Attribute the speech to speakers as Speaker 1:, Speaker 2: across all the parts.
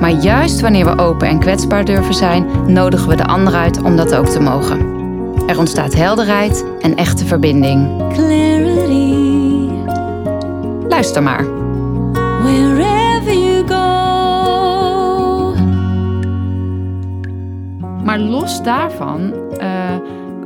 Speaker 1: Maar juist wanneer we open en kwetsbaar durven zijn, nodigen we de ander uit om dat ook te mogen. Er ontstaat helderheid en echte verbinding.
Speaker 2: clarity
Speaker 1: Luister maar.
Speaker 2: wherever you go.
Speaker 3: Maar los daarvan eh,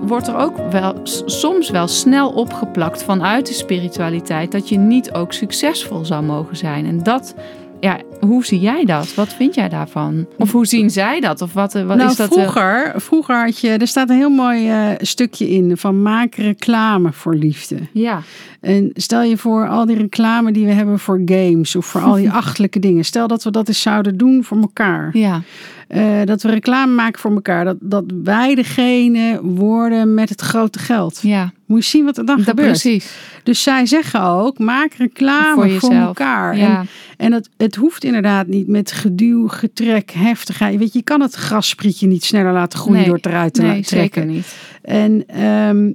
Speaker 3: wordt er ook wel s- soms wel snel opgeplakt vanuit de spiritualiteit dat je niet ook succesvol zou mogen zijn. En dat, ja, hoe zie jij dat? Wat vind jij daarvan? Of hoe zien zij dat? Of wat, eh, wat
Speaker 4: nou,
Speaker 3: is dat? eh,
Speaker 4: vroeger, vroeger had je, er staat een heel mooi eh, stukje in van maak reclame voor liefde.
Speaker 3: ja,
Speaker 4: En stel je voor al die reclame die we hebben voor games of voor al die achtelijke dingen. Stel dat we dat eens zouden doen voor elkaar.
Speaker 3: ja,
Speaker 4: Eh, dat we reclame maken voor elkaar. Dat, dat wij degene worden met het grote geld.
Speaker 3: ja.
Speaker 4: Moet je zien wat er dan
Speaker 3: Dat
Speaker 4: gebeurt.
Speaker 3: precies.
Speaker 4: Dus zij zeggen ook, maak reclame
Speaker 3: Voor
Speaker 4: voor,
Speaker 3: jezelf.
Speaker 4: elkaar.
Speaker 3: Ja.
Speaker 4: En, en het, het hoeft inderdaad niet met geduw, getrek, heftigheid. Weet je, je kan het grassprietje niet sneller laten groeien
Speaker 3: Nee,
Speaker 4: door het eruit te
Speaker 3: Nee,
Speaker 4: laten trekken.
Speaker 3: zeker niet.
Speaker 4: En ehm,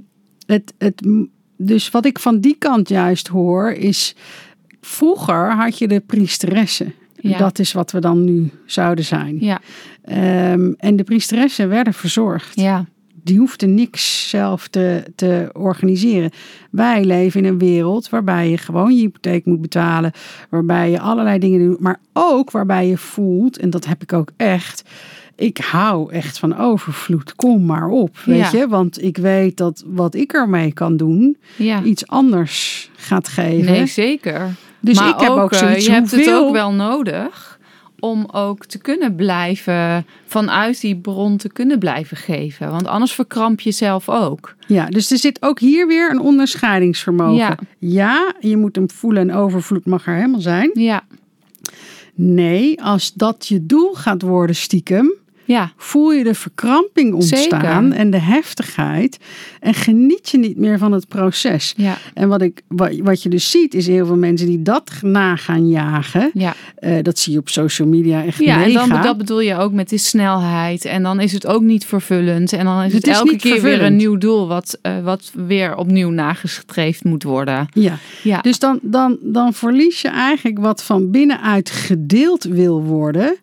Speaker 4: het, het, dus wat ik van die kant juist hoor is, vroeger had je de priesteressen.
Speaker 3: Ja.
Speaker 4: Dat is wat we dan nu zouden zijn.
Speaker 3: Ja,
Speaker 4: Ehm, en de priesteressen werden verzorgd
Speaker 3: ja,
Speaker 4: die hoefden niks zelf te, te organiseren. Wij leven in een wereld waarbij je gewoon je hypotheek moet betalen, waarbij je allerlei dingen doet, maar ook waarbij je voelt, en dat heb ik ook echt. Ik hou echt van overvloed. Kom maar op, weet
Speaker 3: Ja.
Speaker 4: je? Want ik weet dat wat ik ermee kan doen,
Speaker 3: ja.
Speaker 4: iets anders gaat geven.
Speaker 3: Nee, zeker.
Speaker 4: Dus ik heb ook
Speaker 3: eh,
Speaker 4: zoiets,
Speaker 3: Je hebt het
Speaker 4: hoeveel-
Speaker 3: ook wel nodig om ook te kunnen blijven vanuit die bron te kunnen blijven geven. Want anders verkramp je zelf ook.
Speaker 4: Ja, dus er zit ook hier weer een onderscheidingsvermogen.
Speaker 3: Ja.
Speaker 4: ja, je moet hem voelen en overvloed mag er helemaal zijn.
Speaker 3: Ja,
Speaker 4: Nee, als dat je doel gaat worden stiekem,
Speaker 3: ja,
Speaker 4: voel je de verkramping ontstaan
Speaker 3: Zeker.
Speaker 4: en de heftigheid en geniet je niet meer van het proces.
Speaker 3: ja,
Speaker 4: En wat, ik, wat, wat je dus ziet is heel veel mensen die dat na gaan jagen.
Speaker 3: ja.
Speaker 4: Eh, dat zie je op social media echt
Speaker 3: Ja, en
Speaker 4: mega.
Speaker 3: dan, dat bedoel je ook met die snelheid. En dan is het ook niet vervullend. En dan is
Speaker 4: Het
Speaker 3: het,
Speaker 4: is
Speaker 3: elke
Speaker 4: niet
Speaker 3: keer weer een
Speaker 4: vervullend.
Speaker 3: nieuw doel... Wat, eh, wat weer opnieuw nagestreefd moet worden.
Speaker 4: ja.
Speaker 3: Ja,
Speaker 4: Dus dan, dan, dan verlies je eigenlijk wat van binnenuit gedeeld wil worden.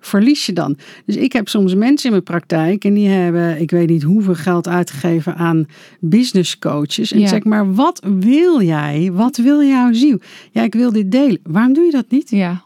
Speaker 4: Verlies je dan. Dus ik heb soms mensen in mijn praktijk en die hebben, ik weet niet hoeveel geld uitgegeven aan business coaches. En
Speaker 3: Ja.
Speaker 4: zeg maar, wat wil jij? Wat wil jouw ziel? Ja, ik wil dit delen. Waarom doe je dat niet?
Speaker 3: ja.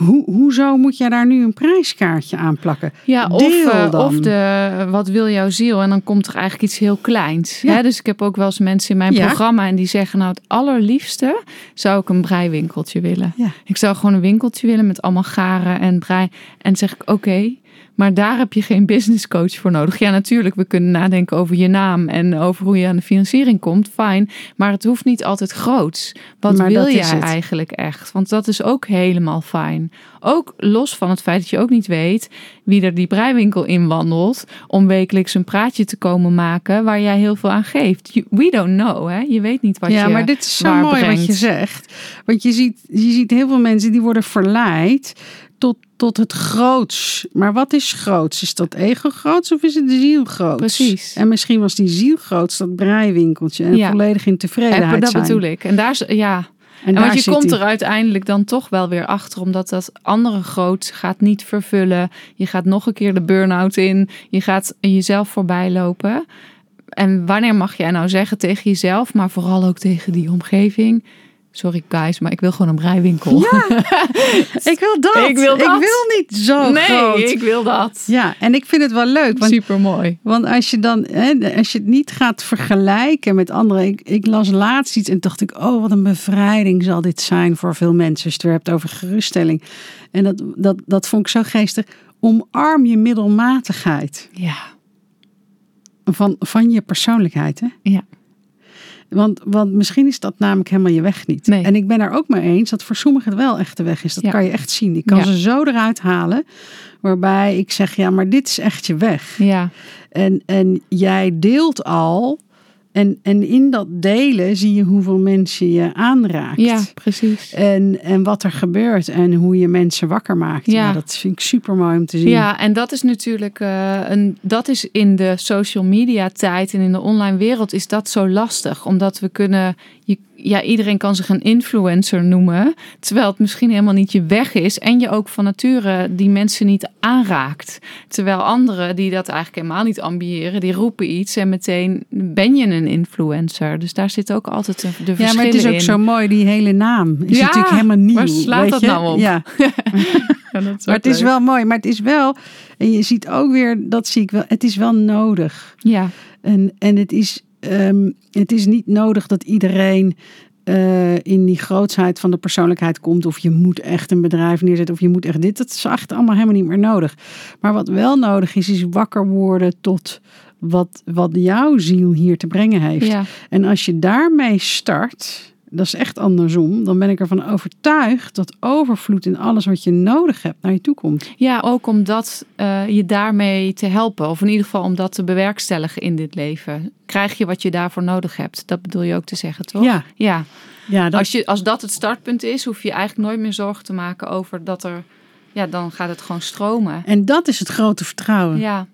Speaker 4: Hoe, hoezo moet jij daar nu een prijskaartje aan plakken?
Speaker 3: Ja, of,
Speaker 4: Deel
Speaker 3: eh,
Speaker 4: dan.
Speaker 3: of de, wat wil jouw ziel? En dan komt er eigenlijk iets heel kleins.
Speaker 4: Ja.
Speaker 3: Hè? Dus ik heb ook wel eens mensen in mijn
Speaker 4: Ja.
Speaker 3: programma en die zeggen nou het allerliefste zou ik een breiwinkeltje willen.
Speaker 4: Ja.
Speaker 3: Ik zou gewoon een winkeltje willen met allemaal garen en brei. En zeg ik oké, maar daar heb je geen business coach voor nodig. Ja natuurlijk, we kunnen nadenken over je naam en over hoe je aan de financiering komt. Fijn, maar het hoeft niet altijd groots. Wat
Speaker 4: Maar
Speaker 3: wil
Speaker 4: dat is
Speaker 3: jij
Speaker 4: het.
Speaker 3: eigenlijk echt? Want dat is ook helemaal fijn. Ook los van het feit dat je ook niet weet wie er die breiwinkel in wandelt. Om wekelijks een praatje te komen maken waar jij heel veel aan geeft. You- We don't know, hè? Je weet niet wat
Speaker 4: ja,
Speaker 3: je
Speaker 4: maar dit is zo
Speaker 3: waar
Speaker 4: mooi wat je
Speaker 3: brengt.
Speaker 4: zegt. Want je ziet, je ziet heel veel mensen die worden verleid tot, tot het groots. Maar wat is groots? Is dat ego groots of is het de ziel groots?
Speaker 3: Precies.
Speaker 4: En misschien was die ziel groots dat breiwinkeltje en
Speaker 3: Ja.
Speaker 4: volledig in tevredenheid
Speaker 3: En dat
Speaker 4: zijn.
Speaker 3: bedoel ik. En daar is, ja. En,
Speaker 4: daar
Speaker 3: want je
Speaker 4: zit
Speaker 3: komt
Speaker 4: die.
Speaker 3: er uiteindelijk dan toch wel weer achter, omdat dat andere groots gaat niet vervullen. Je gaat nog een keer de burn-out in. Je gaat jezelf voorbij lopen. En wanneer mag jij nou zeggen tegen jezelf, maar vooral ook tegen die omgeving: Sorry, guys, maar ik wil gewoon een breiwinkel.
Speaker 4: Ik wil dat.
Speaker 3: Ik wil dat.
Speaker 4: niet zo
Speaker 3: nee,
Speaker 4: groot.
Speaker 3: ik wil dat.
Speaker 4: Ja, en ik vind het wel leuk. Want
Speaker 3: Super mooi.
Speaker 4: Want als je dan, hè, als je het niet gaat vergelijken met anderen. Ik, ik las laatst iets en dacht ik, oh, wat een bevrijding zal dit zijn voor veel mensen. Als je het weer hebt over geruststelling. En dat, dat, dat vond ik zo geestig. Omarm je middelmatigheid
Speaker 3: Ja,
Speaker 4: van, van je persoonlijkheid. Hè?
Speaker 3: ja,
Speaker 4: Want, want misschien is dat namelijk helemaal je weg niet.
Speaker 3: Nee.
Speaker 4: En ik ben daar ook mee eens dat voor sommigen het wel echt de weg is. Dat
Speaker 3: Ja.
Speaker 4: kan je echt zien. Ik kan
Speaker 3: Ja.
Speaker 4: ze zo eruit halen. Waarbij ik zeg, ja, maar dit is echt je weg.
Speaker 3: Ja,
Speaker 4: En, en jij deelt al. En, en in dat delen zie je hoeveel mensen je aanraakt.
Speaker 3: ja precies.
Speaker 4: En, en wat er gebeurt en hoe je mensen wakker maakt. Ja.
Speaker 3: Ja.
Speaker 4: dat vind ik super mooi om te zien.
Speaker 3: Ja, en dat is natuurlijk eh, een. Dat is in de social media tijd en in de online wereld is dat zo lastig. Omdat we kunnen. Je, ja, iedereen kan zich een influencer noemen. Terwijl het misschien helemaal niet je weg is. En je ook van nature die mensen niet aanraakt. Terwijl anderen die dat eigenlijk helemaal niet ambiëren, die roepen iets en meteen ben je een influencer. Dus daar zit ook altijd een- de verschillen
Speaker 4: Ja, maar het is ook
Speaker 3: in.
Speaker 4: zo mooi, die hele naam. Is
Speaker 3: Ja,
Speaker 4: natuurlijk helemaal nieuw.
Speaker 3: waar slaat
Speaker 4: weet
Speaker 3: dat
Speaker 4: je?
Speaker 3: nou op?
Speaker 4: Ja,
Speaker 3: Ja, dat is
Speaker 4: maar
Speaker 3: ook
Speaker 4: het is
Speaker 3: leuk.
Speaker 4: wel mooi. Maar het is wel, en je ziet ook weer, dat zie ik wel, het is wel nodig.
Speaker 3: Ja,
Speaker 4: En, en het, is, ehm, het is niet nodig dat iedereen eh, in die grootsheid van de persoonlijkheid komt. Of je moet echt een bedrijf neerzetten. Of je moet echt dit. Dat is echt allemaal helemaal niet meer nodig. Maar wat wel nodig is, is wakker worden tot wat, wat jouw ziel hier te brengen heeft.
Speaker 3: ja,
Speaker 4: En als je daarmee start, dat is echt andersom, dan ben ik ervan overtuigd dat overvloed in alles wat je nodig hebt naar je toe komt.
Speaker 3: ja, ook om dat, eh, je daarmee te helpen. Of in ieder geval om dat te bewerkstelligen in dit leven. Krijg je wat je daarvoor nodig hebt. Dat bedoel je ook te zeggen, toch?
Speaker 4: Ja,
Speaker 3: ja.
Speaker 4: ja dat,
Speaker 3: Als, je, als dat het startpunt is, hoef je eigenlijk nooit meer zorgen te maken over dat er... Ja, dan gaat het gewoon stromen.
Speaker 4: en dat is het grote vertrouwen.
Speaker 3: Ja,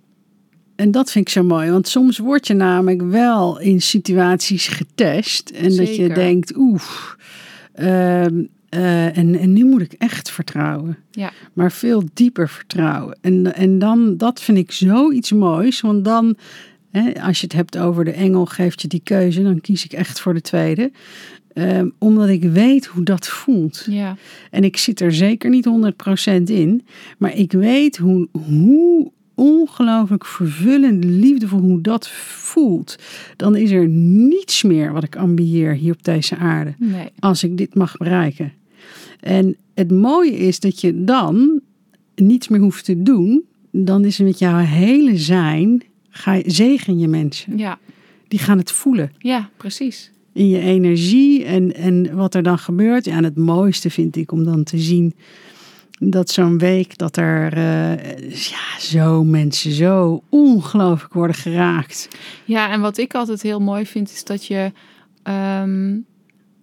Speaker 4: En dat vind ik zo mooi, want soms word je namelijk wel in situaties getest en dat je
Speaker 3: Zeker.
Speaker 4: denkt, oef, ehm, eh, en, en nu moet ik echt vertrouwen.
Speaker 3: Ja.
Speaker 4: Maar veel dieper vertrouwen. En, en dan, dat vind ik zoiets moois, want dan, hè, als je het hebt over de engel, geeft je die keuze, dan kies ik echt voor de tweede. Ehm, omdat ik weet hoe dat voelt.
Speaker 3: ja,
Speaker 4: En ik zit er zeker niet 100% in. Maar ik weet hoe, hoe ongelooflijk vervullend, liefdevol, hoe dat voelt. Dan is er niets meer wat ik ambieer hier op deze aarde.
Speaker 3: nee.
Speaker 4: Als ik dit mag bereiken. En het mooie is dat je dan niets meer hoeft te doen. Dan is het met jouw hele zijn, ga je, zegen je mensen.
Speaker 3: Ja,
Speaker 4: Die gaan het voelen
Speaker 3: ja, precies.
Speaker 4: in je energie en, en wat er dan gebeurt. Ja, en het mooiste vind ik om dan te zien dat zo'n week dat er eh, ja, zo mensen zo ongelooflijk worden geraakt.
Speaker 3: Ja, en wat ik altijd heel mooi vind, is dat je ehm,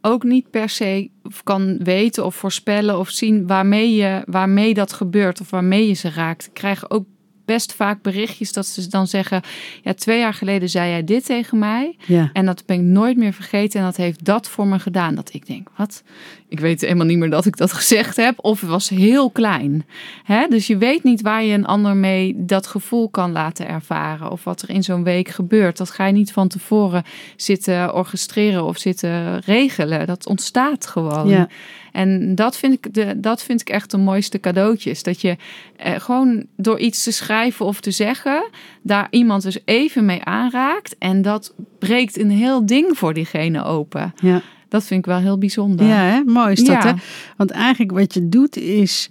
Speaker 3: ook niet per se kan weten of voorspellen of zien waarmee, je, waarmee dat gebeurt of waarmee je ze raakt. Ik krijg ook best vaak berichtjes dat ze dan zeggen: Ja, twee jaar geleden zei jij dit tegen mij.
Speaker 4: Ja.
Speaker 3: En dat ben ik nooit meer vergeten. En dat heeft dat voor me gedaan. Dat ik denk, wat? Ik weet helemaal niet meer dat ik dat gezegd heb. Of het was heel klein. Hè? Dus je weet niet waar je een ander mee dat gevoel kan laten ervaren. Of wat er in zo'n week gebeurt. Dat ga je niet van tevoren zitten orchestreren of zitten regelen. Dat ontstaat gewoon.
Speaker 4: Ja.
Speaker 3: En dat vind, ik de, dat vind ik echt de mooiste cadeautjes. Dat je eh, gewoon door iets te schrijven of te zeggen, daar iemand dus even mee aanraakt. En dat breekt een heel ding voor diegene open.
Speaker 4: Ja,
Speaker 3: Dat vind ik wel heel bijzonder.
Speaker 4: ja hè? mooi is dat
Speaker 3: Ja.
Speaker 4: hè. Want eigenlijk wat je doet is,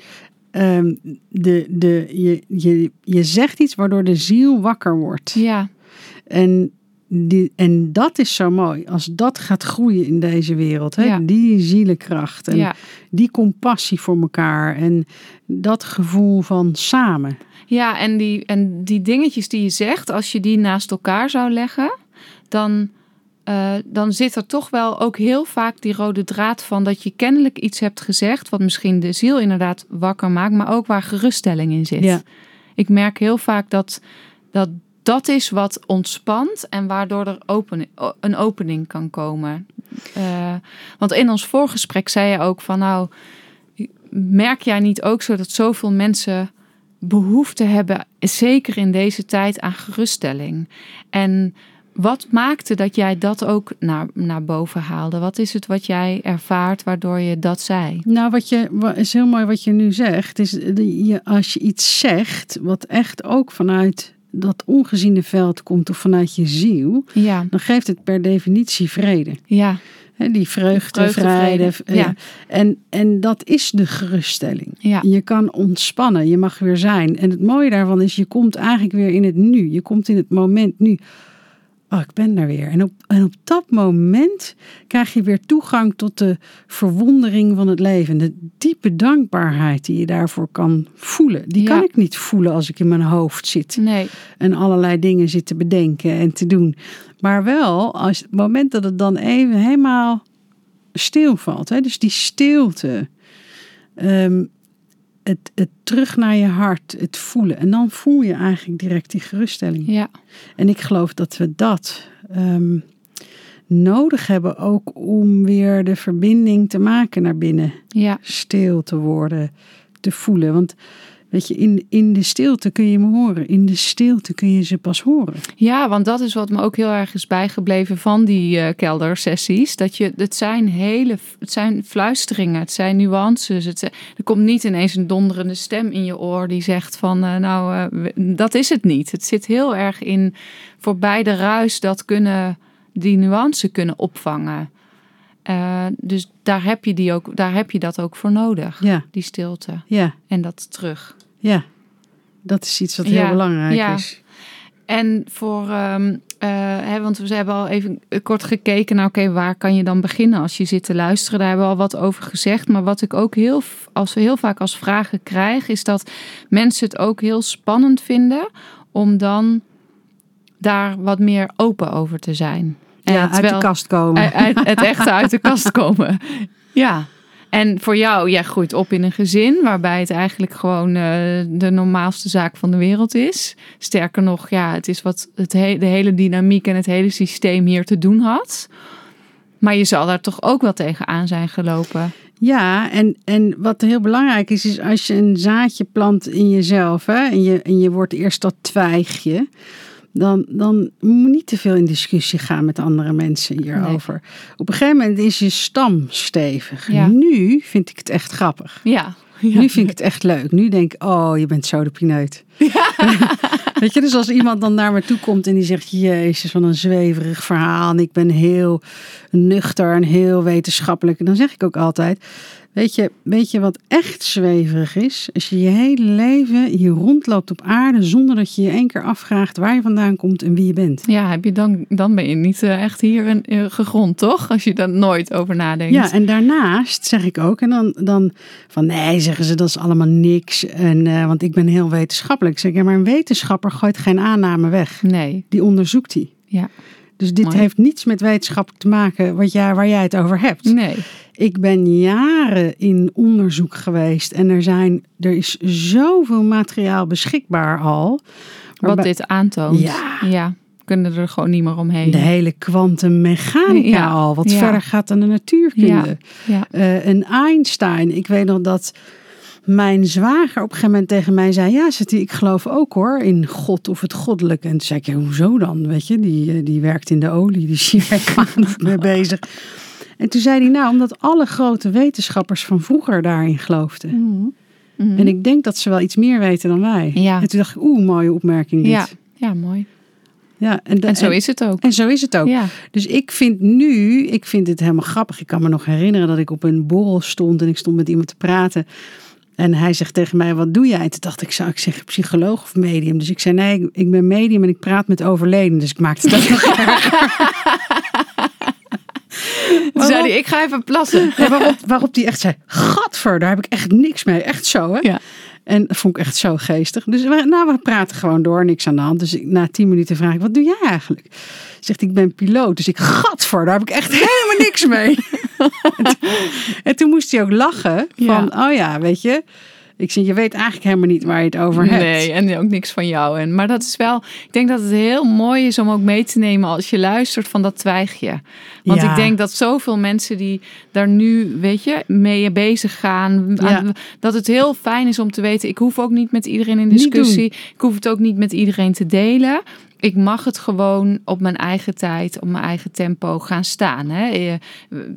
Speaker 4: ehm, de, de, je, je, je zegt iets waardoor de ziel wakker wordt.
Speaker 3: Ja,
Speaker 4: En, die, en dat is zo mooi. Als dat gaat groeien in deze wereld. Hè?
Speaker 3: Ja.
Speaker 4: Die zielenkracht. En
Speaker 3: ja.
Speaker 4: die compassie voor elkaar en dat gevoel van samen.
Speaker 3: ja en, die, en die dingetjes die je zegt, als je die naast elkaar zou leggen, dan, eh, dan zit er toch wel ook heel vaak die rode draad van dat je kennelijk iets hebt gezegd, wat misschien de ziel inderdaad wakker maakt, maar ook waar geruststelling in zit.
Speaker 4: Ja.
Speaker 3: Ik merk heel vaak dat dat, dat is wat ontspant en waardoor er open, o- een opening kan komen. Eh, want in ons voorgesprek zei je ook van nou, merk jij niet ook zo dat zoveel mensen behoefte hebben, zeker in deze tijd, aan geruststelling? En wat maakte dat jij dat ook naar, naar boven haalde? Wat is het wat jij ervaart waardoor je dat zei?
Speaker 4: Nou, wat je wa- is heel mooi wat je nu zegt. Is de- je, als je iets zegt wat echt ook vanuit dat ongeziene veld komt of vanuit je ziel,
Speaker 3: Ja,
Speaker 4: dan geeft het per definitie vrede.
Speaker 3: ja,
Speaker 4: Hè, die vreugde,
Speaker 3: Vreugde,
Speaker 4: vrede.
Speaker 3: vrede,
Speaker 4: eh,
Speaker 3: ja.
Speaker 4: ja. En, en dat is de geruststelling.
Speaker 3: ja,
Speaker 4: Je kan ontspannen, je mag weer zijn. En het mooie daarvan is, je komt eigenlijk weer in het nu. Je komt in het moment nu. oh, ik ben daar weer. En op, en op dat moment krijg je weer toegang tot de verwondering van het leven. De diepe dankbaarheid die je daarvoor kan voelen. Die kan
Speaker 3: Ja.
Speaker 4: ik niet voelen als ik in mijn hoofd zit
Speaker 3: Nee,
Speaker 4: en allerlei dingen zit te bedenken en te doen. Maar wel, als het moment dat het dan even helemaal stilvalt, hè, dus die stilte, ehm, het, het terug naar je hart, het voelen. En dan voel je eigenlijk direct die geruststelling.
Speaker 3: ja.
Speaker 4: En ik geloof dat we dat ehm, nodig hebben ook om weer de verbinding te maken naar binnen
Speaker 3: Ja,
Speaker 4: stil te worden, te voelen. Want weet je, in, in de stilte kun je me horen. In de stilte kun je ze pas horen.
Speaker 3: ja, want dat is wat me ook heel erg is bijgebleven van die eh, keldersessies. Dat je, het zijn hele, het zijn fluisteringen, het zijn nuances. Het, zijn- er komt niet ineens een donderende stem in je oor die zegt van, eh, nou, eh, we- dat is het niet. Het zit heel erg in voorbij de ruis dat kunnen, die nuance kunnen opvangen. Eh, dus daar heb, je die ook, daar heb je dat ook voor nodig,
Speaker 4: Ja,
Speaker 3: die stilte
Speaker 4: ja,
Speaker 3: en dat terug.
Speaker 4: ja. Dat is iets wat
Speaker 3: Ja,
Speaker 4: heel belangrijk
Speaker 3: ja.
Speaker 4: is.
Speaker 3: En voor, ehm, eh, hè, want we hebben al even kort gekeken naar, oké, waar kan je dan beginnen als je zit te luisteren? Daar hebben we al wat over gezegd. Maar wat ik ook heel, v- als we heel vaak als vragen krijg, is dat mensen het ook heel spannend vinden om dan daar wat meer open over te zijn. En
Speaker 4: ja, uit
Speaker 3: terwijl-
Speaker 4: de kast komen.
Speaker 3: uit- uit- het echte uit de kast komen. Ja. En voor jou, jij groeit op in een gezin waarbij het eigenlijk gewoon eh, de normaalste zaak van de wereld is. Sterker nog, ja, het is wat het he- de hele dynamiek en het hele systeem hier te doen had. Maar je zal daar toch ook wel tegenaan zijn gelopen.
Speaker 4: Ja, en, en wat heel belangrijk is, is als je een zaadje plant in jezelf hè, en, je, en je wordt eerst dat twijgje, dan, dan moet je niet te veel in discussie gaan met andere mensen hierover. Op een gegeven moment is je stam stevig.
Speaker 3: Ja.
Speaker 4: Nu vind ik het echt grappig.
Speaker 3: Ja. ja.
Speaker 4: Nu vind ik het echt leuk. Nu denk ik, oh, je bent zo de pineut. Weet je, dus als iemand dan naar me toe komt en die zegt, jezus, wat een zweverig verhaal. En ik ben heel nuchter en heel wetenschappelijk. En dan zeg ik ook altijd, weet je, weet je wat echt zweverig is? Als je je hele leven hier rondloopt op aarde zonder dat je je één keer afvraagt waar je vandaan komt en wie je bent.
Speaker 3: Ja, heb je dan, dan ben je niet eh, echt hier in, eh, gegrond, toch? Als je daar nooit over nadenkt.
Speaker 4: Ja, en daarnaast zeg ik ook, en dan, dan van nee, zeggen ze dat is allemaal niks. En, eh, want ik ben heel wetenschappelijk. Ik Zeg ik, ja, maar een wetenschapper gooit geen aanname weg.
Speaker 3: Nee.
Speaker 4: Die onderzoekt die.
Speaker 3: Ja.
Speaker 4: Dus dit
Speaker 3: Mooi.
Speaker 4: heeft niets met wetenschap te maken wat jij, waar jij het over hebt.
Speaker 3: Nee.
Speaker 4: Ik ben jaren in onderzoek geweest en er, zijn, er is zoveel materiaal beschikbaar al.
Speaker 3: Wat
Speaker 4: Waarbij-
Speaker 3: dit aantoont.
Speaker 4: Ja.
Speaker 3: Kunnen er gewoon niet meer omheen.
Speaker 4: De hele kwantummechanica
Speaker 3: Ja,
Speaker 4: al, wat
Speaker 3: ja.
Speaker 4: verder gaat dan de natuurkunde.
Speaker 3: Ja, ja.
Speaker 4: Eh, een Einstein. Ik weet nog dat mijn zwager op een gegeven moment tegen mij zei: Ja, Sati, ik geloof ook hoor in God of het goddelijke. En toen zei ik: ja, Hoezo dan? Weet je, die, eh, die werkt in de olie, die is hier echt maanden mee bezig. En toen zei hij: Nou, omdat alle grote wetenschappers van vroeger daarin geloofden.
Speaker 3: Mhm.
Speaker 4: Mhm. En ik denk dat ze wel iets meer weten dan wij.
Speaker 3: Ja.
Speaker 4: En toen dacht ik: Oeh, mooie opmerking. Dit.
Speaker 3: Ja, ja mooi.
Speaker 4: Ja, en, da-
Speaker 3: En zo
Speaker 4: en-
Speaker 3: is het ook.
Speaker 4: en zo is het ook.
Speaker 3: Ja.
Speaker 4: Dus ik vind nu, ik vind het helemaal grappig. Ik kan me nog herinneren dat ik op een borrel stond en ik stond met iemand te praten. En hij zegt tegen mij, wat doe jij? En toen dacht ik, zou ik zeggen psycholoog of medium? Dus ik zei, nee, ik- ik ben medium en ik praat met overleden. Dus ik maakte het ook nog
Speaker 3: Toen zei hij, ik ga even plassen.
Speaker 4: Ja, waarop, waarop die echt zei: Gadver, daar heb ik echt niks mee. Echt zo, hè?
Speaker 3: Ja.
Speaker 4: En dat vond ik echt zo geestig. Dus we, nou, we praten gewoon door, niks aan de hand. Dus ik, na tien minuten vraag ik: Wat doe jij eigenlijk? Zegt ik ben piloot. Dus ik: Gadver, daar heb ik echt helemaal niks mee. en, toen, en toen moest hij ook lachen: van, Oh ja, weet je. Ik zeg: Je weet eigenlijk helemaal niet waar je het over hebt.
Speaker 3: Nee, en ook niks van jou. En, maar dat is wel, ik denk dat het heel mooi is om ook mee te nemen als je luistert van dat twijgje. Want
Speaker 4: Ja.
Speaker 3: ik denk dat zoveel mensen die daar nu, weet je, mee bezig gaan, aan-
Speaker 4: Ja.
Speaker 3: dat het heel fijn is om te weten, ik hoef ook niet met iedereen in
Speaker 4: Niet
Speaker 3: discussie. Ik hoef het ook niet met iedereen te delen. Ik mag het gewoon op mijn eigen tijd, op mijn eigen tempo gaan staan. Hè? Eh,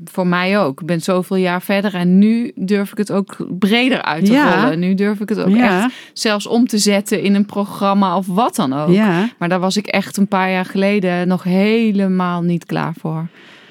Speaker 3: Voor mij ook. Ik ben zoveel jaar verder en nu durf ik het ook breder uit te
Speaker 4: Ja.
Speaker 3: rollen. Nu durf ik het ook
Speaker 4: Ja.
Speaker 3: echt zelfs om te zetten in een programma of wat dan ook.
Speaker 4: Ja.
Speaker 3: Maar daar was ik echt een paar jaar geleden nog helemaal niet klaar voor.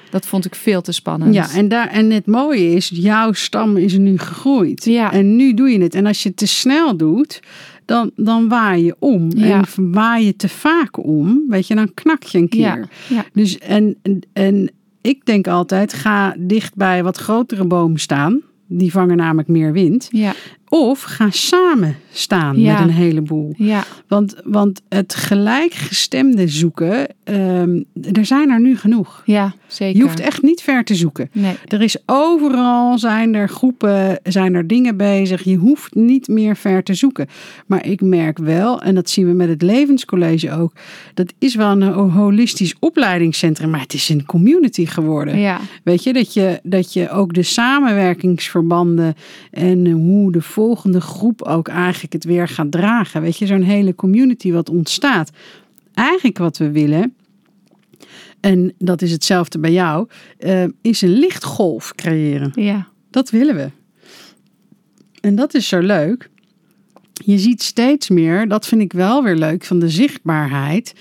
Speaker 3: Dat vond ik veel te spannend.
Speaker 4: Ja, en, daar, en het mooie is, jouw stam is nu gegroeid.
Speaker 3: Ja.
Speaker 4: En nu doe je het. En als je het te snel doet, dan, dan waai je om.
Speaker 3: Ja.
Speaker 4: En waai je te vaak om, weet je, dan knak je een keer.
Speaker 3: Ja, ja.
Speaker 4: Dus en, en, en ik denk altijd, ga dicht bij wat grotere bomen staan. Die vangen namelijk meer wind.
Speaker 3: Ja,
Speaker 4: Of ga samen staan
Speaker 3: Ja.
Speaker 4: met een heleboel.
Speaker 3: ja,
Speaker 4: Want, want het gelijkgestemde zoeken, ehm, er zijn er nu genoeg.
Speaker 3: ja, zeker.
Speaker 4: Je hoeft echt niet ver te zoeken.
Speaker 3: Nee,
Speaker 4: Er is overal, zijn er groepen, zijn er dingen bezig. Je hoeft niet meer ver te zoeken. Maar ik merk wel, en dat zien we met het Levenscollege ook, dat is wel een holistisch opleidingscentrum, maar het is een community geworden.
Speaker 3: ja,
Speaker 4: Weet je dat, je, dat je ook de samenwerkingsverbanden en eh, hoe de volgende groep ook eigenlijk het weer gaat dragen. Weet je, zo'n hele community wat ontstaat. Eigenlijk wat we willen, en dat is hetzelfde bij jou, eh, is een lichtgolf creëren.
Speaker 3: ja,
Speaker 4: Dat willen we. En dat is zo leuk. Je ziet steeds meer, dat vind ik wel weer leuk van de zichtbaarheid.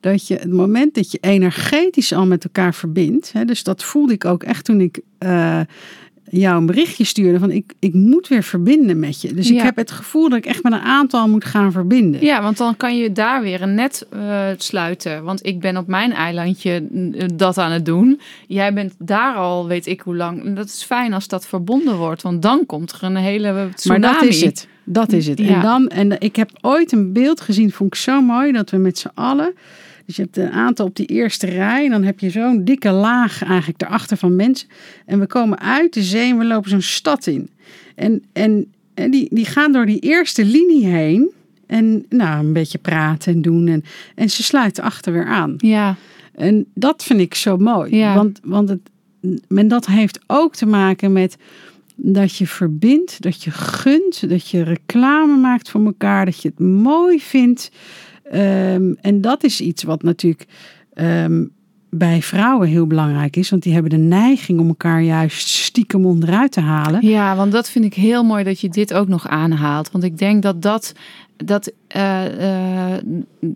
Speaker 4: Dat je het moment dat je energetisch al met elkaar verbindt. Hè, dus dat voelde ik ook echt toen ik eh, jou een berichtje stuurde. Van ik, ik moet weer verbinden met je. Dus ik
Speaker 3: Ja.
Speaker 4: heb het gevoel dat ik echt met een aantal moet gaan verbinden.
Speaker 3: ja, want dan kan je daar weer een net eh, sluiten. Want ik ben op mijn eilandje mm, dat aan het doen. Jij bent daar al, weet ik hoe lang. En Dat is fijn als dat verbonden wordt, want dan komt er een hele tsunami.
Speaker 4: Maar dat is het. Dat is het.
Speaker 3: Ja.
Speaker 4: En dan, en ik heb ooit een beeld gezien, vond ik zo mooi, dat we met z'n allen. Dus je hebt een aantal op die eerste rij. En dan heb je zo'n dikke laag eigenlijk erachter van mensen. En we komen uit de zee en we lopen zo'n stad in. En, en, en die, die gaan door die eerste linie heen. En nou, een beetje praten en doen. En, en ze sluiten achter weer aan.
Speaker 3: Ja,
Speaker 4: En dat vind ik zo mooi.
Speaker 3: Ja.
Speaker 4: Want, want het, en dat heeft ook te maken met dat je verbindt, dat je gunt, dat je reclame maakt voor elkaar, dat je het mooi vindt. Ehm, en dat is iets wat natuurlijk ehm, bij vrouwen heel belangrijk is, want die hebben de neiging om elkaar juist stiekem onderuit te halen.
Speaker 3: Ja, want dat vind ik heel mooi dat je dit ook nog aanhaalt. Want ik denk dat dat, dat, eh, eh,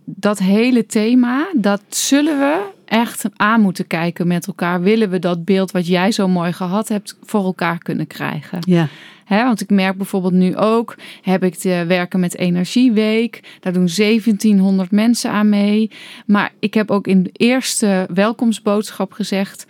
Speaker 3: dat hele thema, dat zullen we echt aan moeten kijken met elkaar. Willen we dat beeld wat jij zo mooi gehad hebt voor elkaar kunnen krijgen?
Speaker 4: Ja,
Speaker 3: Hè, want ik merk bijvoorbeeld nu ook, heb ik de Werken met Energieweek. Daar doen 1700 mensen aan mee. Maar ik heb ook in de eerste welkomstboodschap gezegd...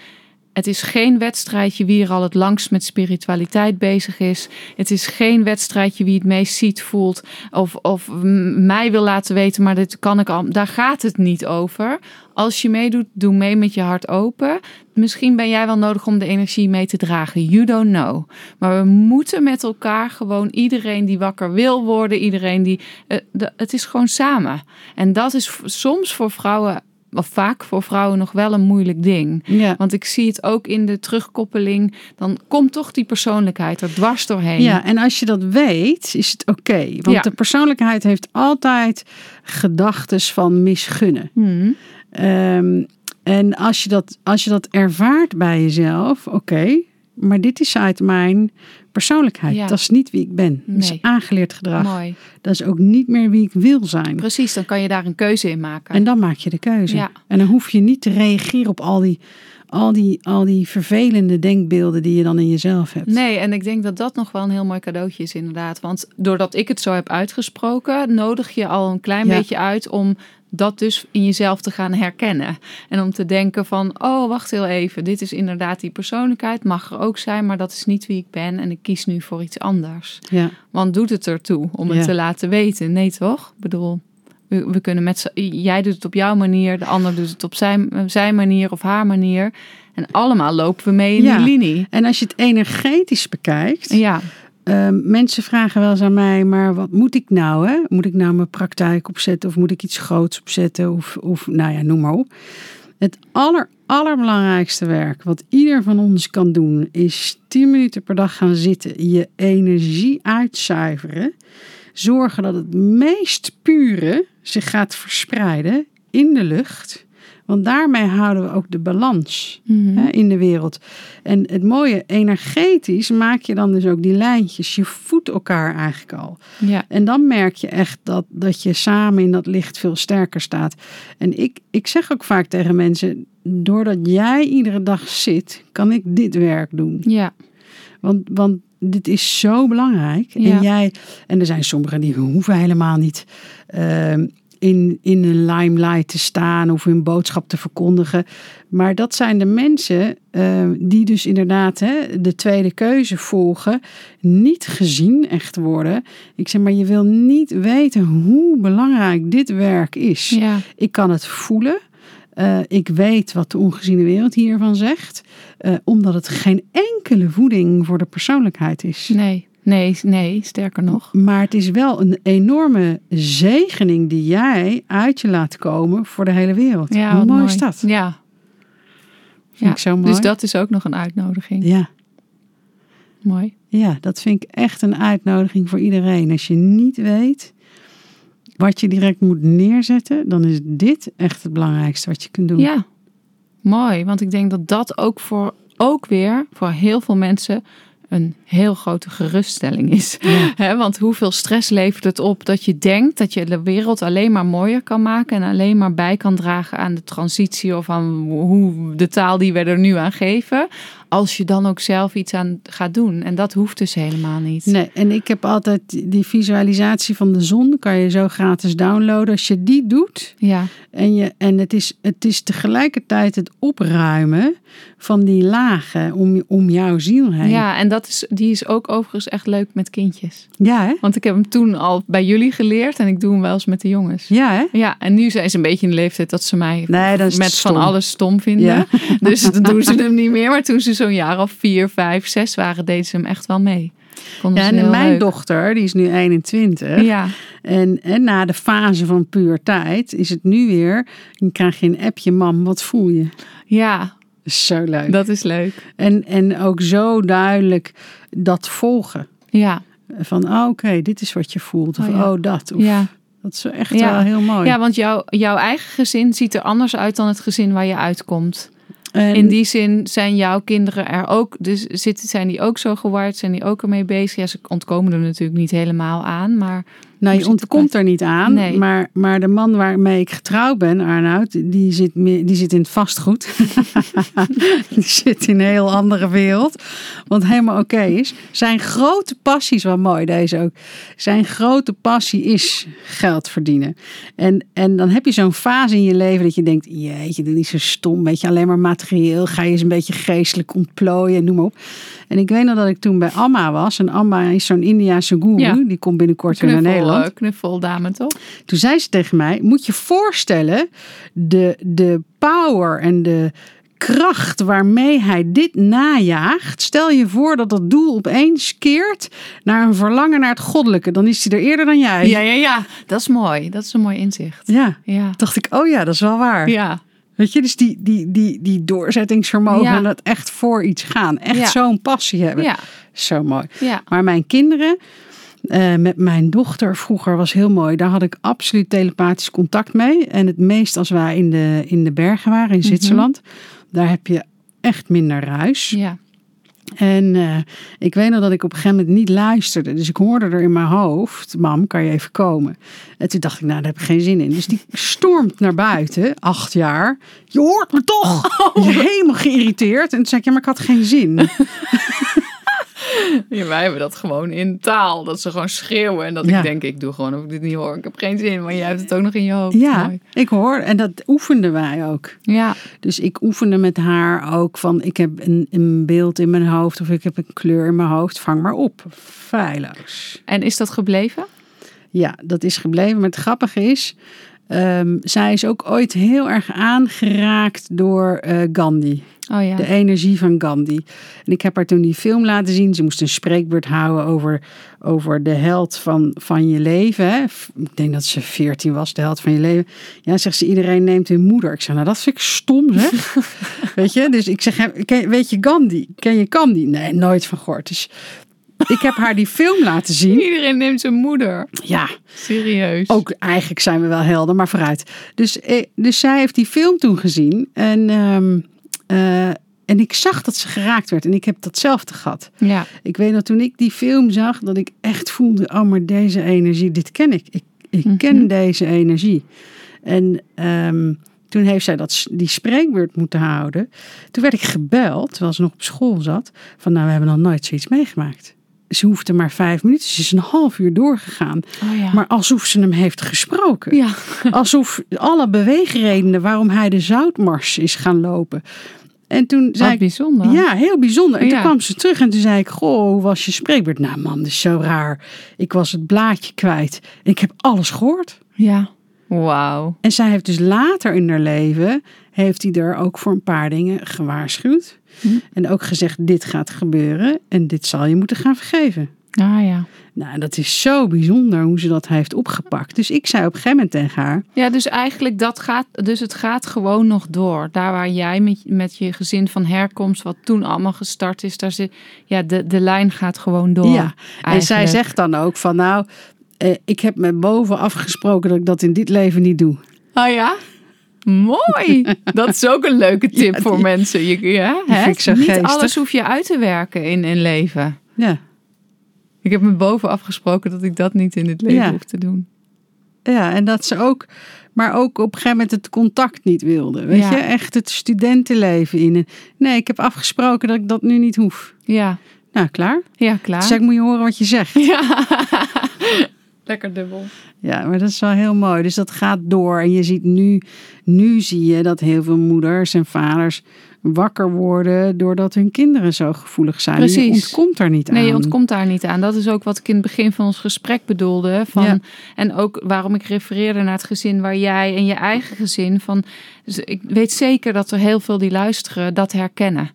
Speaker 3: Het is geen wedstrijdje wie er al het langst met spiritualiteit bezig is. Het is geen wedstrijdje wie het meest ziet, voelt of, of m- mij wil laten weten, maar dit kan ik al. Daar gaat het niet over. Als je meedoet, doe mee met je hart open. Misschien ben jij wel nodig om de energie mee te dragen. You don't know. Maar we moeten met elkaar gewoon iedereen die wakker wil worden, iedereen die. eh, de- het is gewoon samen. En dat is v- soms voor vrouwen, of vaak voor vrouwen, nog wel een moeilijk ding.
Speaker 4: ja.
Speaker 3: Want ik zie het ook in de terugkoppeling. Dan komt toch die persoonlijkheid er dwars doorheen.
Speaker 4: Ja, en als je dat weet, is het oké. want
Speaker 3: Ja.
Speaker 4: de persoonlijkheid heeft altijd gedachten van misgunnen.
Speaker 3: Hmm.
Speaker 4: Ehm, en als je, dat, als je dat ervaart bij jezelf, oké, maar dit is uit mijn persoonlijkheid.
Speaker 3: Ja.
Speaker 4: Dat is niet wie ik ben. Dat
Speaker 3: Nee.
Speaker 4: is aangeleerd gedrag.
Speaker 3: Mooi.
Speaker 4: Dat is ook niet meer wie ik wil zijn.
Speaker 3: Precies, dan kan je daar een keuze in maken.
Speaker 4: En dan maak je de keuze.
Speaker 3: Ja.
Speaker 4: En dan hoef je niet te reageren op al die, al, die, al die vervelende denkbeelden die je dan in jezelf hebt.
Speaker 3: Nee, en ik denk dat dat nog wel een heel mooi cadeautje is, inderdaad. Want doordat ik het zo heb uitgesproken, nodig je al een klein
Speaker 4: Ja.
Speaker 3: beetje uit om dat dus in jezelf te gaan herkennen. En om te denken van, oh, wacht heel even. Dit is inderdaad die persoonlijkheid, mag er ook zijn, maar dat is niet wie ik ben. En ik kies nu voor iets anders.
Speaker 4: Ja.
Speaker 3: Want doet het ertoe om het
Speaker 4: Ja.
Speaker 3: te laten weten? Nee, toch? Ik bedoel, we, we kunnen met z'n- jij doet het op jouw manier, de ander doet het op zijn, eh, zijn manier of haar manier. En allemaal lopen we mee in
Speaker 4: Ja.
Speaker 3: die linie.
Speaker 4: En als je het energetisch bekijkt,
Speaker 3: Ja,
Speaker 4: Ehm, mensen vragen wel eens aan mij, maar wat moet ik nou? Hè? Moet ik nou mijn praktijk opzetten of moet ik iets groots opzetten? Of, of nou ja, noem maar op. Het aller, allerbelangrijkste werk wat ieder van ons kan doen, is 10 minuten per dag gaan zitten, je energie uitzuiveren, zorgen dat het meest pure zich gaat verspreiden in de lucht. Want daarmee houden we ook de balans
Speaker 3: Mhm.
Speaker 4: hè, in de wereld. En het mooie, energetisch maak je dan dus ook die lijntjes. Je voedt elkaar eigenlijk al.
Speaker 3: ja,
Speaker 4: En dan merk je echt dat, dat je samen in dat licht veel sterker staat. En ik, ik zeg ook vaak tegen mensen, doordat jij iedere dag zit, kan ik dit werk doen.
Speaker 3: ja.
Speaker 4: Want, want dit is zo belangrijk.
Speaker 3: Ja.
Speaker 4: En jij, en er zijn sommigen die hoeven helemaal niet ehm, in, in een limelight te staan of hun boodschap te verkondigen. Maar dat zijn de mensen ehm, die dus inderdaad hè, de tweede keuze volgen, niet gezien echt worden. Ik zeg maar, je wil niet weten hoe belangrijk dit werk is.
Speaker 3: Ja.
Speaker 4: Ik kan het voelen. Eh, ik weet wat de ongeziene wereld hiervan zegt. Eh, omdat het geen enkele voeding voor de persoonlijkheid is.
Speaker 3: Nee, nee, nee, sterker nog.
Speaker 4: Maar het is wel een enorme zegening die jij uit je laat komen voor de hele wereld.
Speaker 3: Ja,
Speaker 4: Hoe
Speaker 3: wat
Speaker 4: mooi, is dat? Vind
Speaker 3: Ja.
Speaker 4: ik zo mooi.
Speaker 3: Dus dat is ook nog een uitnodiging.
Speaker 4: Ja.
Speaker 3: Mooi.
Speaker 4: ja, dat vind ik echt een uitnodiging voor iedereen. Als je niet weet wat je direct moet neerzetten, dan is dit echt het belangrijkste wat je kunt doen.
Speaker 3: Ja, mooi. Want ik denk dat dat ook voor ook weer voor heel veel mensen een heel grote geruststelling is. Hè, want hoeveel stress levert het op dat je denkt dat je de wereld alleen maar mooier kan maken en alleen maar bij kan dragen aan de transitie of aan hoe de taal die we er nu aan geven, als je dan ook zelf iets aan gaat doen. En dat hoeft dus helemaal niet.
Speaker 4: Nee, en ik heb altijd die visualisatie van de zon, kan je zo gratis downloaden. Als je die doet
Speaker 3: Ja,
Speaker 4: en, je, en het, is, het is tegelijkertijd het opruimen van die lagen om, om jouw ziel heen.
Speaker 3: ja en dat is, die is ook overigens echt leuk met kindjes.
Speaker 4: ja hè?
Speaker 3: Want ik heb hem toen al bij jullie geleerd en ik doe hem wel eens met de jongens.
Speaker 4: Ja, hè?
Speaker 3: Ja, en nu zijn ze een beetje in de leeftijd dat ze mij
Speaker 4: Nee, dan is het
Speaker 3: met van
Speaker 4: stom.
Speaker 3: alles stom vinden.
Speaker 4: Ja.
Speaker 3: Dus dan doen ze hem niet meer. Maar toen ze zo'n jaar of vier, vijf, zes waren, deden ze hem echt wel mee. Vonden
Speaker 4: Ja,
Speaker 3: ze heel
Speaker 4: en mijn
Speaker 3: leuk.
Speaker 4: dochter, die is nu 21.
Speaker 3: Ja,
Speaker 4: En, en na de fase van puur tijd is het nu weer, dan krijg je een appje, mam, wat voel je?
Speaker 3: ja,
Speaker 4: Zo leuk.
Speaker 3: dat is leuk.
Speaker 4: En, en ook zo duidelijk dat volgen.
Speaker 3: Ja,
Speaker 4: Van, oh, oké, dit is wat je voelt. Of,
Speaker 3: Oh,
Speaker 4: oh,
Speaker 3: ja.
Speaker 4: dat. Of,
Speaker 3: ja.
Speaker 4: Dat is wel echt
Speaker 3: Ja.
Speaker 4: wel heel mooi.
Speaker 3: ja want jouw jouw eigen gezin ziet er anders uit dan het gezin waar je uitkomt.
Speaker 4: En-
Speaker 3: In die zin zijn jouw kinderen er ook, dus zitten, zijn die ook zo geward, zijn die ook ermee bezig. Ja, ze ontkomen er natuurlijk niet helemaal aan, maar
Speaker 4: nou, je
Speaker 3: zit het
Speaker 4: ontkomt er niet aan.
Speaker 3: Nee.
Speaker 4: Maar, maar de man waarmee ik getrouwd ben, Arnoud, die zit, meer- die zit in het vastgoed. die zit in een heel andere wereld. Wat helemaal oké is. Zijn grote passie is wel mooi, deze ook. Zijn grote passie is geld verdienen. En, en dan heb je zo'n fase in je leven dat je denkt: jeetje, doe niet zo stom. Weet je, alleen maar materieel. Ga je eens een beetje geestelijk ontplooien en noem maar op. En ik weet nog dat ik toen bij Amma was. En Amma is zo'n Indiaanse guru.
Speaker 3: Ja.
Speaker 4: Die komt binnenkort weer naar
Speaker 3: knuffel,
Speaker 4: Nederland.
Speaker 3: eh, knuffeldame toch?
Speaker 4: Toen zei ze tegen mij: Moet je voorstellen de, de power en de kracht waarmee hij dit najaagt. Stel je voor dat dat doel opeens keert naar een verlangen naar het goddelijke. Dan is hij er eerder dan jij.
Speaker 3: Ja, ja, ja. Dat is mooi. Dat is een mooi inzicht.
Speaker 4: Ja.
Speaker 3: Ja.
Speaker 4: Dacht ik, oh ja, dat is wel waar.
Speaker 3: Ja.
Speaker 4: Weet je, dus die, die, die, die doorzettingsvermogen
Speaker 3: Ja.
Speaker 4: en dat echt voor iets gaan. Echt
Speaker 3: Ja.
Speaker 4: zo'n passie hebben.
Speaker 3: Ja.
Speaker 4: Zo mooi.
Speaker 3: Ja.
Speaker 4: Maar mijn kinderen, eh, met mijn dochter vroeger was heel mooi. Daar had ik absoluut telepathisch contact mee. En het meest als wij in de, in de bergen waren
Speaker 3: Mhm.
Speaker 4: in Zwitserland. Daar heb je echt minder ruis.
Speaker 3: Ja.
Speaker 4: En eh, ik weet nog dat ik op een gegeven moment niet luisterde. Dus ik hoorde er in mijn hoofd, mam, kan je even komen? En toen dacht ik, nou, daar heb ik geen zin in. Dus die stormt naar buiten, acht jaar. Je hoort me toch!
Speaker 3: Oh.
Speaker 4: Helemaal geïrriteerd. En toen zei ik, ja, maar ik had geen zin.
Speaker 3: ja. Wij hebben dat gewoon in taal. Dat ze gewoon schreeuwen. En dat
Speaker 4: Ja.
Speaker 3: ik denk, ik doe gewoon of ik dit niet hoor. Ik heb geen zin. Maar jij hebt het ook nog in je hoofd.
Speaker 4: Ja,
Speaker 3: Mooi.
Speaker 4: ik hoor. En dat oefenden wij ook.
Speaker 3: Ja.
Speaker 4: Dus ik oefende met haar ook van, ik heb een, een beeld in mijn hoofd of ik heb een kleur in mijn hoofd. Vang maar op. Feilloos.
Speaker 3: En is dat gebleven?
Speaker 4: Ja, dat is gebleven. Maar het grappige is, ehm, zij is ook ooit heel erg aangeraakt door eh, Gandhi.
Speaker 3: Oh ja.
Speaker 4: De energie van Gandhi. En ik heb haar toen die film laten zien. Ze moest een spreekbeurt houden over, over de held van, van je leven. Hè. F- Ik denk dat ze veertien was, de held van je leven. Ja, zegt ze, iedereen neemt hun moeder. Ik zeg, nou dat vind ik stom zeg. weet je, dus ik zeg, hem, ken- weet je Gandhi? Ken je Gandhi? Nee, nooit van gehoord. Dus ik heb haar die film laten zien.
Speaker 3: Iedereen neemt zijn moeder.
Speaker 4: Ja,
Speaker 3: Serieus.
Speaker 4: ook eigenlijk zijn we wel helder, maar vooruit. Dus, eh, dus zij heeft die film toen gezien. En, ehm, eh, en ik zag dat ze geraakt werd. En ik heb datzelfde gehad.
Speaker 3: Ja.
Speaker 4: Ik weet nog toen ik die film zag, dat ik echt voelde: oh, maar deze energie, dit ken ik. Ik, ik ken deze energie. En ehm, toen heeft zij dat, s- die spreekbeurt moeten houden. Toen werd ik gebeld, terwijl ze nog op school zat: van nou, we hebben nog nooit zoiets meegemaakt. ze hoefde maar vijf minuten. Ze is een half uur doorgegaan.
Speaker 3: Oh ja.
Speaker 4: Maar alsof ze hem heeft gesproken.
Speaker 3: ja.
Speaker 4: Alsof alle beweegredenen waarom hij de zoutmars is gaan lopen. En toen zei
Speaker 3: Wat
Speaker 4: ik,
Speaker 3: bijzonder.
Speaker 4: ja, heel bijzonder. En toen
Speaker 3: Ja.
Speaker 4: kwam ze terug en toen zei ik, goh, hoe was je spreekbeurt? Nou man, dat is zo raar. Ik was het blaadje kwijt. Ik heb alles gehoord.
Speaker 3: Ja. Wauw.
Speaker 4: En zij heeft dus later in haar leven, heeft hij er ook voor een paar dingen gewaarschuwd.
Speaker 3: Hm.
Speaker 4: En ook gezegd, dit gaat gebeuren en dit zal je moeten gaan vergeven.
Speaker 3: Ah ja.
Speaker 4: Nou, en dat is zo bijzonder hoe ze dat heeft opgepakt. Dus ik zei op een gegeven moment tegen haar,
Speaker 3: Ja, dus eigenlijk dat gaat, dus het gaat gewoon nog door. Daar waar jij met, met je gezin van herkomst, wat toen allemaal gestart is, daar zit, ja, de, de lijn gaat gewoon door.
Speaker 4: Ja, en zij
Speaker 3: eigenlijk.
Speaker 4: zegt dan ook van, nou, eh, ik heb met boven afgesproken dat ik dat in dit leven niet doe.
Speaker 3: Oh ja? Mooi! Dat is ook een leuke tip
Speaker 4: Ja,
Speaker 3: voor
Speaker 4: die-
Speaker 3: mensen. Je, ja,
Speaker 4: die
Speaker 3: hè?
Speaker 4: vind ik zo
Speaker 3: Niet
Speaker 4: geestig.
Speaker 3: alles hoef je uit te werken in een leven.
Speaker 4: Ja,
Speaker 3: Ik heb me boven afgesproken dat ik dat niet in het leven
Speaker 4: Ja.
Speaker 3: hoef te doen.
Speaker 4: ja, en dat ze ook, maar ook op een gegeven moment het contact niet wilde. Weet
Speaker 3: Ja.
Speaker 4: je, echt het studentenleven in. En, Nee, ik heb afgesproken dat ik dat nu niet hoef.
Speaker 3: Ja,
Speaker 4: Nou, klaar.
Speaker 3: ja
Speaker 4: Toen
Speaker 3: klaar.
Speaker 4: zei ik, moet je horen wat je zegt.
Speaker 3: Ja. Lekker dubbel.
Speaker 4: Ja, maar dat is wel heel mooi. Dus dat gaat door. En je ziet nu, nu zie je dat heel veel moeders en vaders wakker worden doordat hun kinderen zo gevoelig zijn. En Je
Speaker 3: Precies.
Speaker 4: ontkomt er niet aan.
Speaker 3: Nee, je ontkomt daar niet aan. Dat is ook wat ik in het begin van ons gesprek bedoelde. Van,
Speaker 4: Ja.
Speaker 3: En ook waarom ik refereerde naar het gezin waar jij en je eigen gezin van. Dus ik weet zeker dat er heel veel die luisteren dat herkennen.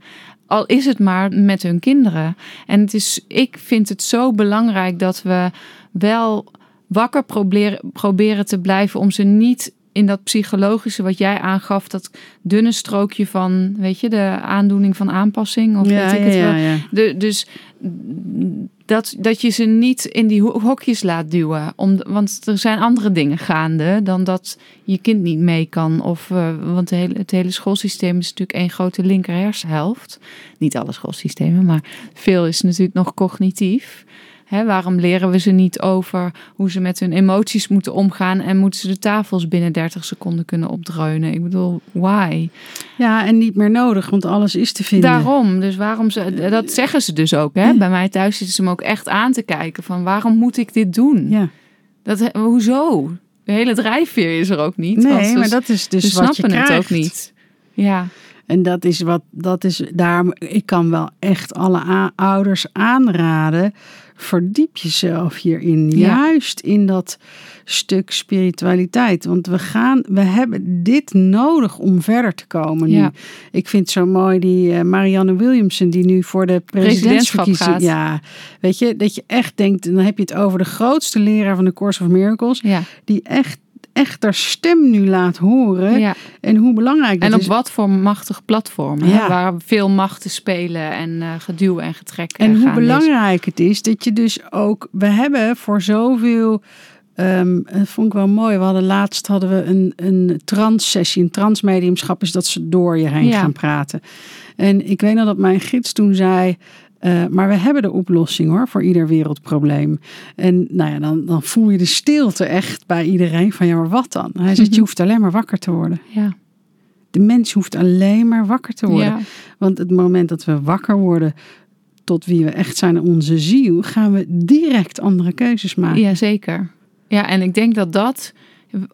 Speaker 3: Al is het maar met hun kinderen. En het is, ik vind het zo belangrijk dat we wel wakker proberen, proberen te blijven om ze niet in dat psychologische wat jij aangaf, dat dunne strookje van, weet je, de aandoening van aanpassing of
Speaker 4: Ja,
Speaker 3: weet ik het
Speaker 4: ja,
Speaker 3: wel.
Speaker 4: ja, ja.
Speaker 3: De, dus mm, dat, dat je ze niet in die ho- hokjes laat duwen. Om, want er zijn andere dingen gaande dan dat je kind niet mee kan. Of, eh, want het hele, het hele schoolsysteem is natuurlijk één grote linker hersenhelft. Niet alle schoolsystemen, maar veel is natuurlijk nog cognitief. Hè, waarom leren we ze niet over hoe ze met hun emoties moeten omgaan en moeten ze de tafels binnen 30 seconden kunnen opdreunen? Ik bedoel, why?
Speaker 4: Ja, en niet meer nodig, want alles is te vinden.
Speaker 3: Daarom, dus waarom ze, dat zeggen ze dus ook. Hè? Bij mij thuis zitten ze me ook echt aan te kijken van waarom moet ik dit doen?
Speaker 4: Ja.
Speaker 3: Dat, hoezo? De hele drijfveer is er ook niet. want
Speaker 4: Nee,
Speaker 3: ze-
Speaker 4: maar dat is dus
Speaker 3: ze
Speaker 4: wat je
Speaker 3: snappen het ook
Speaker 4: krijgt.
Speaker 3: niet. Ja,
Speaker 4: En dat is wat, dat is daarom, ik kan wel echt alle a- ouders aanraden. Verdiep jezelf hierin.
Speaker 3: Ja.
Speaker 4: Juist in dat stuk spiritualiteit. Want we gaan, we hebben dit nodig om verder te komen. Nu.
Speaker 3: Ja.
Speaker 4: Ik vind het zo mooi die eh, Marianne Williamson, die nu voor de presidentsverkiezing.
Speaker 3: gaat.
Speaker 4: Ja, weet je, dat je echt denkt, dan heb je het over de grootste leraar van de Course of Miracles.
Speaker 3: ja,
Speaker 4: Die echt, echt haar stem nu laat horen.
Speaker 3: ja.
Speaker 4: En hoe belangrijk dat
Speaker 3: En op
Speaker 4: is.
Speaker 3: wat voor machtig platform, hè,
Speaker 4: Ja.
Speaker 3: waar veel machten spelen en eh, geduw en getrek. eh,
Speaker 4: En hoe
Speaker 3: gaande is.
Speaker 4: belangrijk het is dat je dus ook. We hebben voor zoveel. ehm dat vond ik wel mooi. We hadden laatst hadden we een, een transsessie. Een transmediumschap is dat ze door je heen
Speaker 3: Ja.
Speaker 4: gaan praten. En ik weet nog dat mijn gids toen zei. eh, maar we hebben de oplossing hoor voor ieder wereldprobleem. En nou ja, dan, dan voel je de stilte echt bij iedereen. Van ja, maar wat dan? Hij zegt, je hoeft alleen maar wakker te worden.
Speaker 3: Ja.
Speaker 4: De mens hoeft alleen maar wakker te worden.
Speaker 3: Ja.
Speaker 4: Want het moment dat we wakker worden tot wie we echt zijn, onze ziel, gaan we direct andere keuzes maken.
Speaker 3: Ja, zeker. Ja, en ik denk dat dat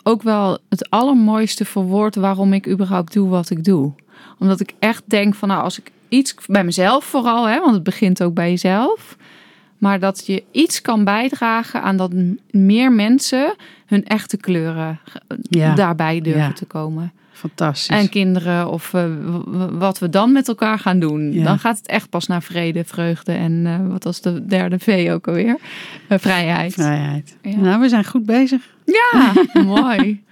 Speaker 3: ook wel het allermooiste verwoord waarom ik überhaupt doe wat ik doe. Omdat ik echt denk van nou, als ik iets bij mezelf vooral, hè, want het begint ook bij jezelf. Maar dat je iets kan bijdragen aan dat m- meer mensen hun echte kleuren eh,
Speaker 4: Ja.
Speaker 3: daarbij durven
Speaker 4: Ja.
Speaker 3: te komen.
Speaker 4: Fantastisch.
Speaker 3: En kinderen of eh, w- w- wat we dan met elkaar gaan doen.
Speaker 4: Ja.
Speaker 3: Dan gaat het echt pas naar vrede, vreugde en eh, wat was de derde V ook alweer? Eh, vrijheid.
Speaker 4: Vrijheid.
Speaker 3: Ja.
Speaker 4: Nou, we zijn goed bezig.
Speaker 3: Ja, mooi.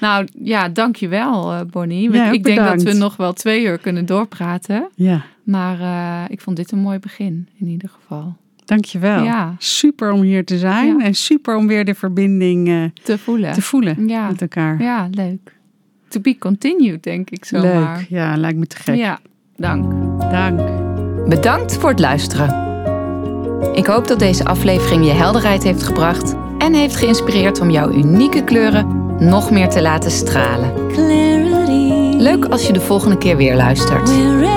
Speaker 3: Nou ja, dankjewel eh, Bonnie.
Speaker 4: Ja, ook
Speaker 3: ik denk dat
Speaker 4: bedankt.
Speaker 3: we nog wel twee uur kunnen doorpraten.
Speaker 4: Ja,
Speaker 3: Maar eh, ik vond dit een mooi begin in ieder geval.
Speaker 4: dankjewel.
Speaker 3: Ja,
Speaker 4: Super om hier te zijn
Speaker 3: Ja.
Speaker 4: en super om weer de verbinding eh,
Speaker 3: te voelen.
Speaker 4: te voelen
Speaker 3: Ja.
Speaker 4: met elkaar.
Speaker 3: ja, leuk. To be continued, denk ik
Speaker 4: Leuk.
Speaker 3: zomaar.
Speaker 4: Ja, lijkt me te gek.
Speaker 3: Ja, dank.
Speaker 4: Dank.
Speaker 1: Bedankt voor het luisteren. Ik hoop dat deze aflevering je helderheid heeft gebracht en heeft geïnspireerd om jouw unieke kleuren nog meer te laten stralen.
Speaker 2: clarity.
Speaker 1: Leuk als je de volgende keer weer luistert.
Speaker 2: Wherever